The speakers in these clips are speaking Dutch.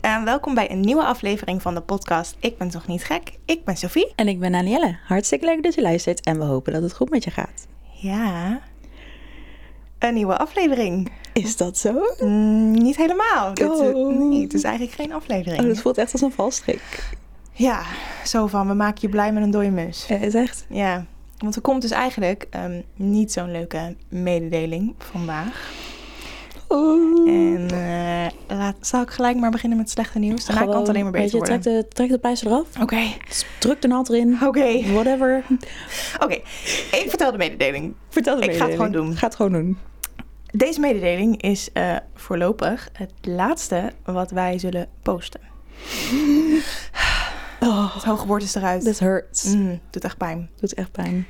en welkom bij een nieuwe aflevering van de podcast Ik ben toch niet gek? Ik ben Sophie. En ik ben Anielle. Hartstikke leuk dat je luistert en we hopen dat het goed met je gaat. Ja, een nieuwe aflevering. Is dat zo? Oh, Mm, niet helemaal. Dit, eh, Oh. nee, het is eigenlijk geen aflevering. dat voelt echt als een valstrik. Ja, zo van we maken je blij met een dode mus. Eh, is echt. Ja, want er komt dus eigenlijk ehm, niet zo'n leuke mededeling vandaag. Oh. En eh, laat, zal ik gelijk maar beginnen met slechte nieuws? dus Daarna kan het alleen maar Weet beter je, trek worden. de, trek de pleister eraf. Oké, Druk de naald erin. oké, Whatever. oké. Ik vertel de mededeling. Vertel Ik ga het gewoon doen. Ga het gewoon doen. Deze mededeling is eh, voorlopig het laatste wat wij zullen posten. Oh, Het hoogwoord is eruit. dit Oh, hurts. Mm, doet echt pijn. Doet echt pijn.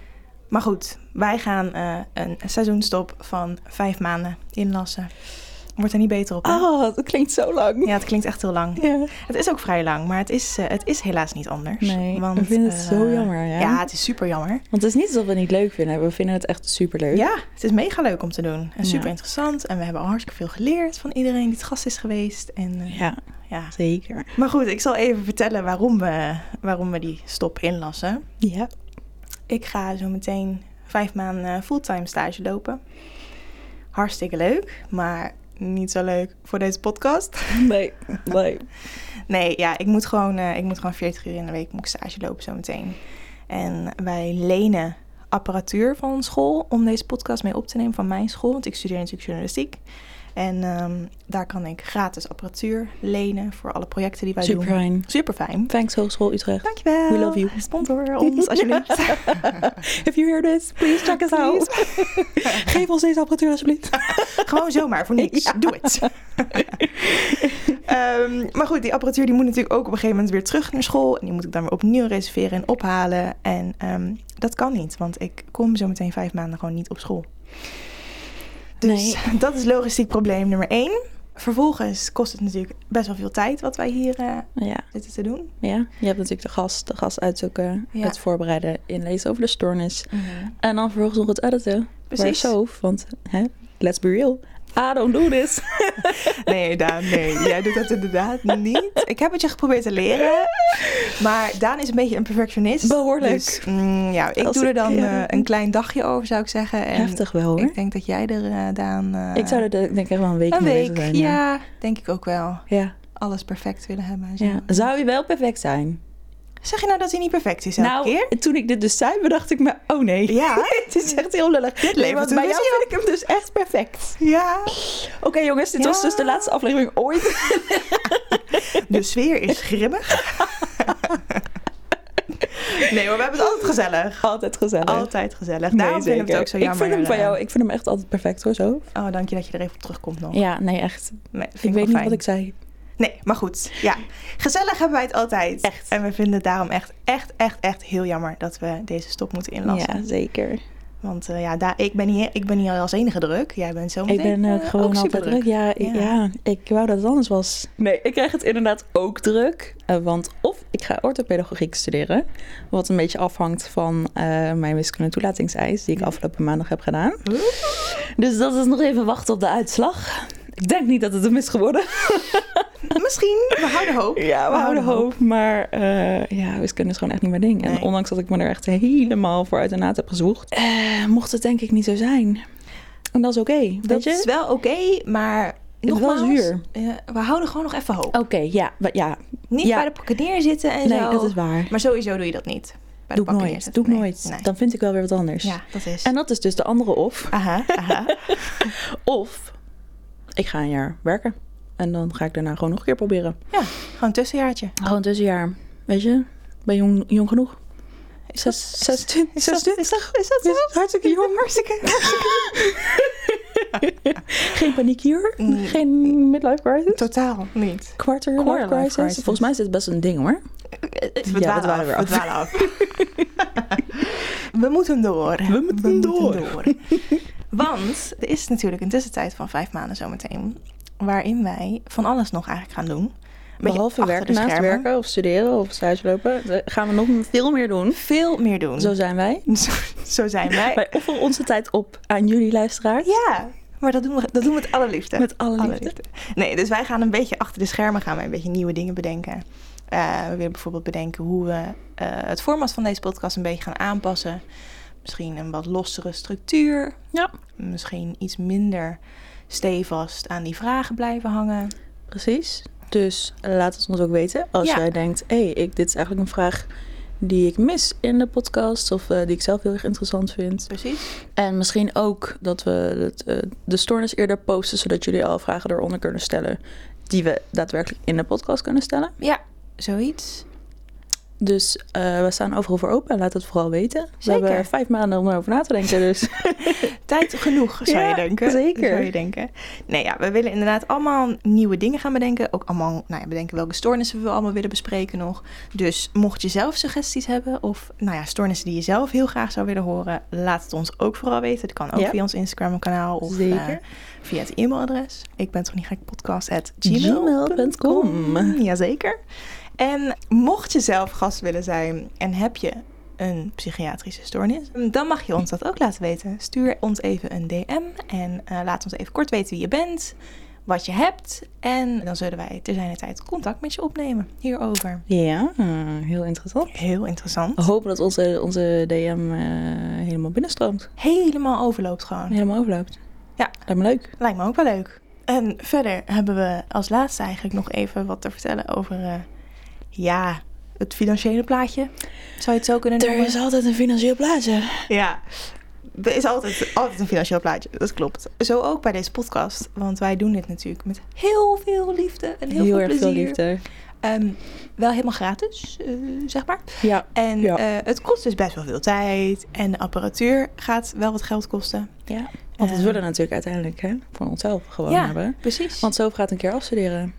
Maar goed, wij gaan eh, een seizoenstop van vijf maanden inlassen. Wordt er niet beter op. hè? Oh, dat klinkt zo lang. Ja, het klinkt echt heel lang. Ja. Het is ook vrij lang, maar het is, eh, het is helaas niet anders. Nee, we vinden het eh, zo jammer, ja. Ja. het is super jammer. Want het is niet alsof we het niet leuk vinden. We vinden het echt super leuk. Ja, het is mega leuk om te doen. En Ja. super interessant. En we hebben al hartstikke veel geleerd van iedereen die het gast is geweest. En eh, ja, zeker. Maar goed, ik zal even vertellen waarom we, waarom we die stop inlassen. Ja. Ik ga zo meteen vijf maanden eh, fulltime stage lopen. Hartstikke leuk, maar niet zo leuk voor deze podcast. Nee, nee. Nee, ja, ik moet gewoon, eh, ik moet gewoon 40 uur in de week moet ik stage lopen zo meteen. En wij lenen apparatuur van school om deze podcast mee op te nemen van mijn school. Want ik studeer natuurlijk journalistiek. En ehm, daar kan ik gratis apparatuur lenen voor alle projecten die wij Super doen. fijn. Super fijn. Thanks Hogeschool Utrecht. Dankjewel. We love you. Sponsor ons alsjeblieft. If you hear this, please check us out. Geef ons deze apparatuur alsjeblieft. Gewoon zomaar, voor niks. Doe het. Ehm, maar goed, die apparatuur die moet natuurlijk ook op een gegeven moment weer terug naar school. En die moet ik dan weer opnieuw reserveren en ophalen. En ehm, dat kan niet, want ik kom zo meteen vijf maanden gewoon niet op school. Dus dat is logistiek probleem nummer één. Vervolgens kost het natuurlijk best wel veel tijd wat wij hier eh, Ja, zitten te doen. ja, je hebt natuurlijk de gast, de gast uitzoeken, Ja. het voorbereiden, inlezen over de stoornis. En dan vervolgens nog het editen. Precies. zo, want hè, let's be real. I don't do this. Nee, Daan, nee. Jij doet dat inderdaad niet. Ik heb het je geprobeerd te leren. Maar Daan is een beetje een perfectionist. Behoorlijk. Dus, mm, ja, ik Als doe er ik, dan ja. eh, een klein dagje over, zou ik zeggen. En Heftig wel hoor. Ik denk dat jij er, eh, Daan... eh, Ik zou er de- denk ik echt wel een week een mee week, bezig zijn. ja. Denk ik ook wel. Ja. Alles perfect willen hebben. en zo. ja. Zou je wel perfect zijn? Zeg je nou dat hij niet perfect is elke nou, keer? toen ik dit dus zei, bedacht ik me, oh nee. Ja. het is echt heel lullig. Dit levert een bij jou ruzie vind ik hem dus echt perfect. Ja. Oké jongens, dit Ja. was dus de laatste aflevering ooit. De sfeer is grimmig. nee hoor, we hebben het altijd gezellig. Altijd gezellig. Altijd gezellig. Nee, Daarom vinden we het zeker. ook zo jammer. Ik vind hem van eh, jou, ik vind hem echt altijd perfect hoor, zo. Oh, dank je dat je er even op terugkomt nog. Ja, nee, echt. Nee, vind Ik weet wel niet fijn. wat ik zei. Nee, maar goed. Ja, gezellig hebben wij het altijd. Echt. En we vinden het daarom echt, echt, echt, echt heel jammer dat we deze stop moeten inlassen. Ja, zeker. Want eh, ja, daar, ik, ben hier, ik ben hier als enige druk. Jij bent zo Ik meteen ben eh, eh, gewoon ook altijd superdruk. druk. Ja, ik- Ja. ja. ik wou dat het anders was. Nee, ik krijg het inderdaad ook druk. eh, want of ik ga orthopedagogiek studeren. Wat een beetje afhangt van eh, mijn wiskunde toelatingseis. Die ik afgelopen maandag heb gedaan. Dus dat is nog even wachten op de uitslag. Ik denk niet dat het hem is geworden. Misschien, we houden hoop. Ja, we houden hoop. Maar eh ja, wiskunde is gewoon echt niet mijn ding. Nee. En ondanks dat ik me er echt helemaal voor uit de naad heb gezocht, eh, mocht het denk ik niet zo zijn. En dat is oké, Dat weet je? is wel oké, maar is wel nogmaals, zuur. eh, we houden gewoon nog even hoop. Oké, ja, wa- ja. Niet ja. bij de pakken neerzitten en Nee, zo. dat is waar. Maar sowieso doe je dat niet. Bij de Doe ik pakken nooit. neerzitten. Doe ik Nee, nooit. nee. Dan vind ik wel weer wat anders. Ja, dat is. En dat is dus de andere of. Aha, aha. Ah. Of ik ga een jaar werken. En dan ga ik daarna gewoon nog een keer proberen. ja, gewoon tussenjaartje. Gewoon tussenjaar. Weet je, ik ben jong, jong genoeg. Is dat- Zes- zes- twintig. Is dat, is dat, is dat zo? hartstikke jong. Hartstikke. Geen paniek hier. Nee. Geen midlife crisis. Totaal niet. Quarter, Quarter life crisis. crisis. Volgens mij is dit best een ding hoor. Eh, We we dwalen dwalen af, weer we af. dwalen af. we moeten door. We moeten door. Want er is natuurlijk een tussentijd van vijf maanden zometeen. Waarin wij van alles nog eigenlijk gaan doen. Een beetje Behalve achter de werken, naast schermen. werken of studeren of stage lopen, eh, gaan we nog veel meer doen. Veel meer doen. Zo Zo, zijn wij. zo zijn wij. Wij offeren onze tijd op aan jullie luisteraars. Ja, Maar dat doen we, dat doen we met alle liefde. Met alle liefde. Nee, dus wij gaan een beetje achter de schermen gaan wij een beetje nieuwe dingen bedenken. Eh, we willen bijvoorbeeld bedenken hoe we eh, het format van deze podcast een beetje gaan aanpassen. Misschien een wat lossere structuur. Ja. Misschien iets minder stevast aan die vragen blijven hangen. Precies. Dus laat het ons ook weten als Ja. jij denkt: hé, hey, ik- dit is eigenlijk een vraag die ik mis in de podcast of eh, die ik zelf heel erg interessant vind. Precies. En misschien ook dat we het, eh, de stoornis eerder posten, zodat jullie al vragen eronder kunnen stellen die we daadwerkelijk in de podcast kunnen stellen. Ja, zoiets. Dus eh, we staan overal voor open. Laat het vooral weten. We Zeker. hebben vijf maanden om erover na te denken. Dus Tijd genoeg, zou Ja, je denken. zeker. Zou je denken. Nee, ja, we willen inderdaad allemaal nieuwe dingen gaan bedenken. Ook allemaal nou ja, bedenken welke stoornissen we allemaal willen bespreken nog. Dus mocht je zelf suggesties hebben of nou ja, stoornissen die je zelf heel graag zou willen horen, laat het ons ook vooral weten. Dat kan ook Ja. via ons Instagram kanaal of eh, Zeker. via het e-mailadres. Ik ben toch niet gek podcast at gmail.com. Jazeker. En mocht je zelf gast willen zijn en heb je een psychiatrische stoornis, dan mag je ons dat ook laten weten. Stuur ons even een DM en eh, laat ons even kort weten wie je bent, wat je hebt. En dan zullen wij ter zijner tijd contact met je opnemen hierover. ja, heel interessant. Heel interessant. We hopen dat onze, onze DM eh, helemaal binnenstroomt. Helemaal overloopt gewoon. Helemaal overloopt. Ja. Lijkt me leuk. Lijkt me ook wel leuk. En verder hebben we als laatste eigenlijk nog even wat te vertellen over, eh, ja, het financiële plaatje. Zou je het zo kunnen noemen? altijd een financieel plaatje. Ja, er is altijd, altijd een financieel plaatje, dat klopt. Zo ook bij deze podcast, want wij doen dit natuurlijk met heel veel liefde en heel, Heel, veel erg plezier. veel liefde. Ehm, wel helemaal gratis, eh, zeg maar. Ja. En Ja. eh, het kost dus best wel veel tijd en de apparatuur gaat wel wat geld kosten. ja. Want dat Eh. willen we natuurlijk uiteindelijk hè, voor onszelf gewoon ja, hebben. precies. Want zo gaat een keer afstuderen.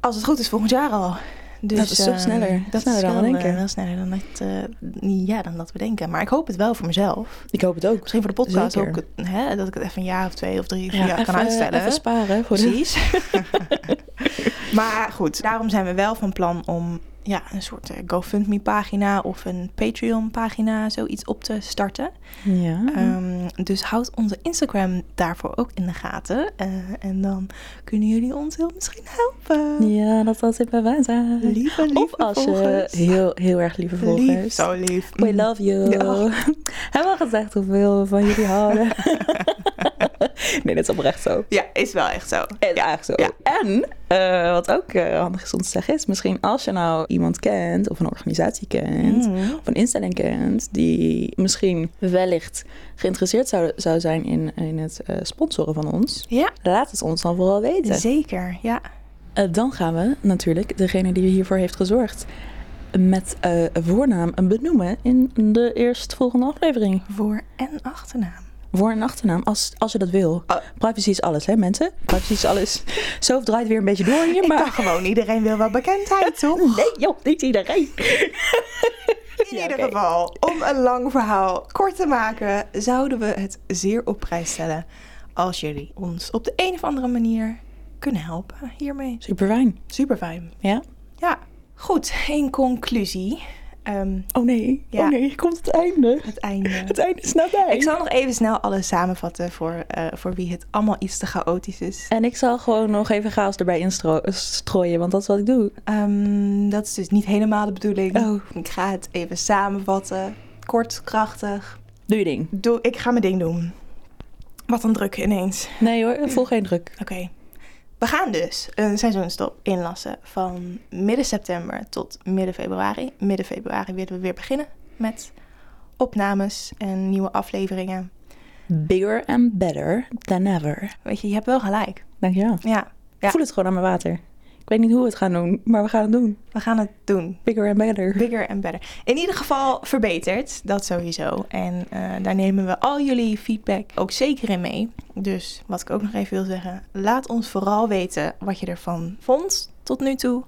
Als het goed is volgend jaar al. Dus, Dat is toch ehm, sneller. Dat Sneller is dan we wel, denken. eh, wel sneller dan, dat, eh, ja, dan dat we denken. Maar ik hoop het wel voor mezelf. Ik hoop het ook. Misschien voor de podcast Zeker. ook. eh, Hè, dat ik het even een jaar of twee of drie, vier Ja, jaar even, kan uitstellen. Even sparen voor de... Precies. maar goed, daarom zijn we wel van plan om ja, een soort eh, GoFundMe-pagina of een Patreon-pagina, zoiets op te starten. Ja. Ehm, dus houd onze Instagram daarvoor ook in de gaten. Eh, en dan kunnen jullie ons heel misschien helpen. ja, dat altijd bij wij zijn. Lieve, lieve Of als volgers. je heel, heel erg lieve Lief, volgers. zo lief. We love you. Ja. Hebben we al gezegd hoeveel we van jullie houden? nee, dat is oprecht zo. Ja, is wel echt zo. En, ja, zo. ja. en eh, wat ook eh, handig is om te zeggen is, misschien als je nou iemand kent of een organisatie kent Mm. of een instelling kent die misschien wellicht geïnteresseerd zou, zou zijn in, in het eh, sponsoren van ons, Ja, laat het ons dan vooral weten. zeker. Ja. Eh, dan gaan we natuurlijk degene die hiervoor heeft gezorgd met eh, voornaam benoemen in de eerstvolgende aflevering. Voor- en achternaam. Voor een achternaam, als, als je dat wil. Oh. Privacy is alles, hè mensen? Privacy is alles. Zo draait weer een beetje door hier, Ik dacht maar... gewoon, iedereen wil wel bekendheid, toch? Oh, Nee, joh, niet iedereen. In Ja, ieder oké. geval, om een lang verhaal kort te maken, zouden we het zeer op prijs stellen als jullie ons op de een of andere manier kunnen helpen hiermee. Super fijn, Super fijn. ja? Ja, goed. In conclusie, ehm, Oh nee, Ja. oh nee, hier komt het einde. het einde. Het einde is nabij. Ik zal nog even snel alles samenvatten voor, eh, voor wie het allemaal iets te chaotisch is. En ik zal gewoon nog even chaos erbij instro- strooien, want dat is wat ik doe. Ehm, dat is dus niet helemaal de bedoeling. Oh. Ik ga het even samenvatten. Kort, krachtig. Doe je ding. Doe, ik ga mijn ding doen. Wat een druk ineens. Nee hoor, voel geen druk. Oké. We gaan dus een seizoenstop inlassen van midden september tot midden februari. Midden februari willen we weer beginnen met opnames en nieuwe afleveringen. Bigger and better than ever. Weet je, je hebt wel gelijk. Dankjewel. Ja, Ik voel het gewoon aan mijn water. Ik weet niet hoe we het gaan doen, maar we gaan het doen. we gaan het doen. Bigger and better. Bigger and better. In ieder geval verbeterd, dat sowieso. En eh, daar nemen we al jullie feedback ook zeker in mee. Dus wat ik ook nog even wil zeggen, laat ons vooral weten wat je ervan vond tot nu toe.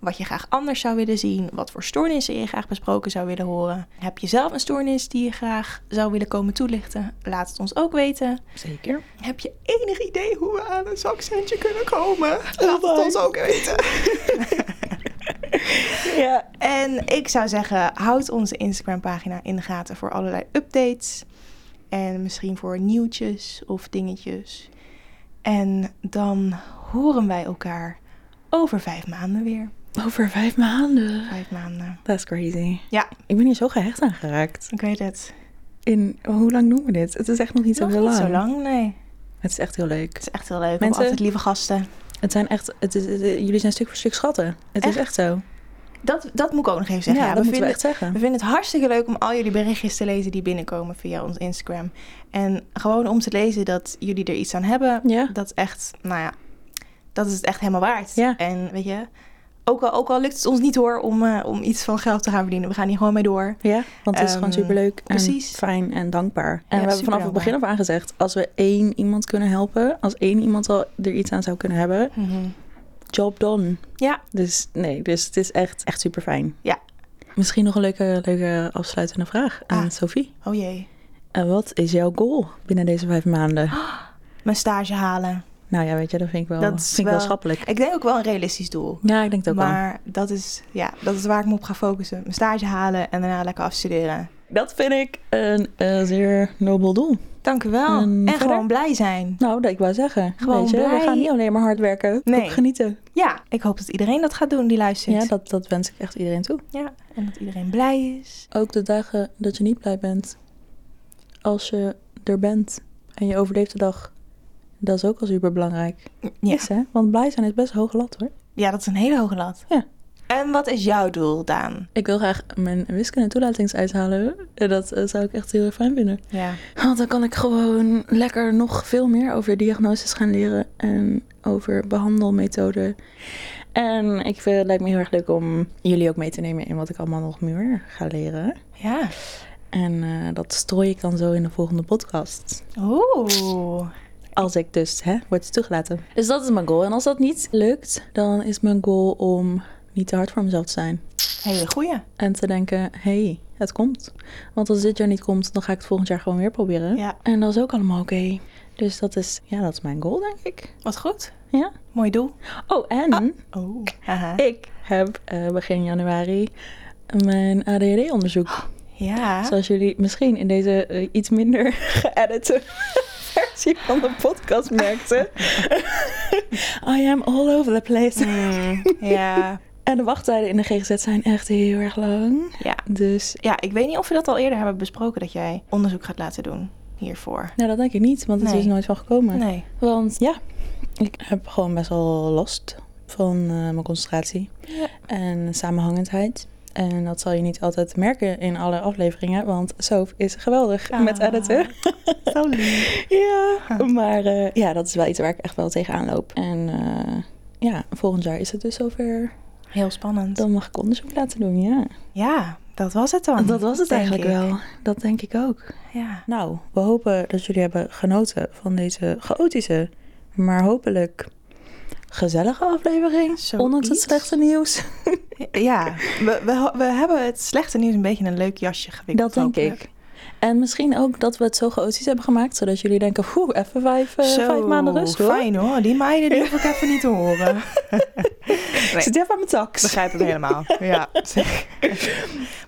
Wat je graag anders zou willen zien. Wat voor stoornissen je graag besproken zou willen horen. Heb je zelf een stoornis die je graag zou willen komen toelichten? Laat het ons ook weten. Zeker. Heb je enig idee hoe we aan een zakcentje kunnen komen? Laat het Oh my. ons ook weten. Ja. En ik zou zeggen, houd onze Instagram-pagina in de gaten voor allerlei updates. En misschien voor nieuwtjes of dingetjes. En dan horen wij elkaar over vijf maanden weer. Over vijf maanden. Vijf maanden. That's crazy. Ja. Ik ben hier zo gehecht aan geraakt. Ik weet het. In, hoe lang doen we dit? Het is echt nog niet zo Nog heel niet lang. zo lang, nee. Het is echt heel leuk. Het is echt heel leuk. We hebben Mensen- altijd lieve gasten. Het zijn echt, het is, het- jullie zijn stuk voor stuk schatten. Het is Echt? echt zo. Dat, dat moet ik ook nog even zeggen. Ja, dat we, moeten vinden, we echt zeggen. we vinden het hartstikke leuk om al jullie berichtjes te lezen die binnenkomen via ons Instagram. En gewoon om te lezen dat jullie er iets aan hebben. Ja. Dat is echt, nou ja, dat is het echt helemaal waard. Ja. En weet je, ook al, ook al lukt het ons niet hoor om, eh, om iets van geld te gaan verdienen. We gaan hier gewoon mee door. Ja, want het is gewoon Ehm, superleuk en precies. fijn en dankbaar. En we super hebben vanaf het begin af aan gezegd... als we één iemand kunnen helpen... als één iemand al er iets aan zou kunnen hebben... job done. Ja. Dus nee, dus het is echt, echt super fijn. Ja. Misschien nog een leuke, leuke afsluitende vraag aan Ah. Sophie. Oh jee. En wat is jouw goal binnen deze vijf maanden? Mijn stage halen. Nou ja, weet je, dat vind ik wel, Dat is vind ik wel wel- schappelijk. Ik denk ook wel een realistisch doel. Ja, ik denk het ook wel. maar dat is, ja, dat is waar ik me op ga focussen. Mijn stage halen en daarna lekker afstuderen. Dat vind ik een eh, zeer nobel doel. Dank u wel. En en verder? gewoon blij zijn. Nou, dat ik wou zeggen. Gewoon weet je, blij. we gaan niet alleen maar hard werken. Nee. Ook genieten. Ja, ik hoop dat iedereen dat gaat doen die luistert. Ja, dat, dat wens ik echt iedereen toe. Ja, en dat iedereen blij is. Ook de dagen dat je niet blij bent. Als je er bent en je overleeft de dag. Dat is ook al super belangrijk. Ja, Is, hè? Want blij zijn is best een hoge lat hoor. ja dat is een hele hoge lat. Ja. En wat is jouw doel, Daan? Ik wil graag mijn wiskunde toelatingseis halen. En Dat eh, zou ik echt heel erg fijn vinden. Ja. Want dan kan ik gewoon lekker nog veel meer over diagnoses gaan leren en over behandelmethoden. En ik vind, het lijkt me heel erg leuk om jullie ook mee te nemen in wat ik allemaal nog meer ga leren. Ja. En eh, dat strooi ik dan zo in de volgende podcast. Oeh. Als ik dus, hè, word toegelaten. Dus dat is mijn goal. En als dat niet lukt, dan is mijn goal om niet te hard voor mezelf te zijn. Hele goeie. En te denken, hé, hey, het komt. Want als dit jaar niet komt, dan ga ik het volgend jaar gewoon weer proberen. Ja. En dat is ook allemaal oké. Dus dat is, ja, dat is mijn goal, denk ik. Wat goed. Ja. Mooi doel. Oh, en Oh. Haha. ik heb eh, begin januari mijn ADHD-onderzoek. Ja. Zoals jullie misschien in deze eh, iets minder geëdite versie van de podcast merkten. I am all over the place. Mm, ja. En de wachttijden in de GGZ zijn echt heel erg lang. Ja. Dus Ja, ik weet niet of we dat al eerder hebben besproken dat jij onderzoek gaat laten doen hiervoor. Nou, dat denk ik niet, want het Nee. is nooit van gekomen. Nee. Want ja, ik heb gewoon best wel last van eh, mijn concentratie Ja. en samenhangendheid. En dat zal je niet altijd merken in alle afleveringen, want Sof is geweldig met Ah. editen. Zo lief. ja, maar eh, ja, dat is wel iets waar ik echt wel tegenaan loop. En eh, ja, volgend jaar is het dus zover. Heel spannend. Dan mag ik onderzoek laten doen, ja. Ja, dat was het dan. dat was het denk eigenlijk ik. wel. Dat denk ik ook. Ja. Nou, we hopen dat jullie hebben genoten van deze chaotische, maar hopelijk gezellige aflevering. Zoiets. Ondanks het slechte nieuws. Ja, we, we, ho- we hebben het slechte nieuws een beetje in een leuk jasje gewikkeld. dat denk hopelijk. ik. En misschien ook dat we het zo chaotisch hebben gemaakt, zodat jullie denken, poeh, even vijf, eh, Zo, vijf maanden rust hoor. Fijn hoor, die meiden die hoef ik even niet te horen. Ik zit even aan mijn tax. Begrijp ik helemaal. Ja. maar het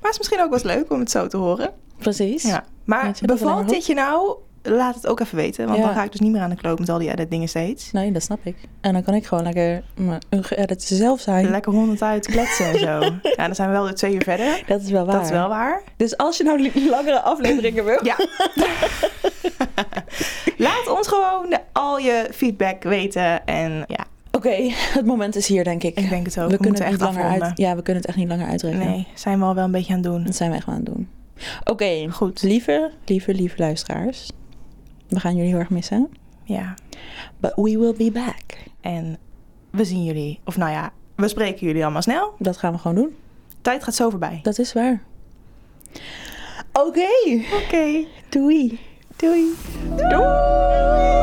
is misschien ook wel eens leuk om het zo te horen. Precies. Ja. Weet Maar je, dat is alleen bevalt maar dit je nou? Laat het ook even weten, want Ja. dan ga ik dus niet meer aan de kloot met al die edit dingen steeds. Nee, dat snap ik. En dan kan ik gewoon lekker mijn ungeëdit zelf zijn. Lekker honderd uit kletsen en zo. Ja, dan zijn we wel weer twee uur verder. Dat is wel waar. Dat is wel waar. Dus als je nou li- langere afleveringen wil, Ja. Laat ons gewoon de- al je feedback weten. En ja, oké, het moment is hier denk ik. ik denk het ook. we kunnen moeten echt het niet langer afronden. uit. Ja, we kunnen het echt niet langer uitrekken. Nee, zijn we al wel een beetje aan het doen. Dat zijn wij gewoon aan het doen. Oké, Goed. lieve, lieve, lieve luisteraars. We gaan jullie heel erg missen. Ja. But we will be back. En we zien jullie. Of nou ja, we spreken jullie allemaal snel. Dat gaan we gewoon doen. Tijd gaat zo voorbij. Dat is waar. Oké, Oké. doei. Doei.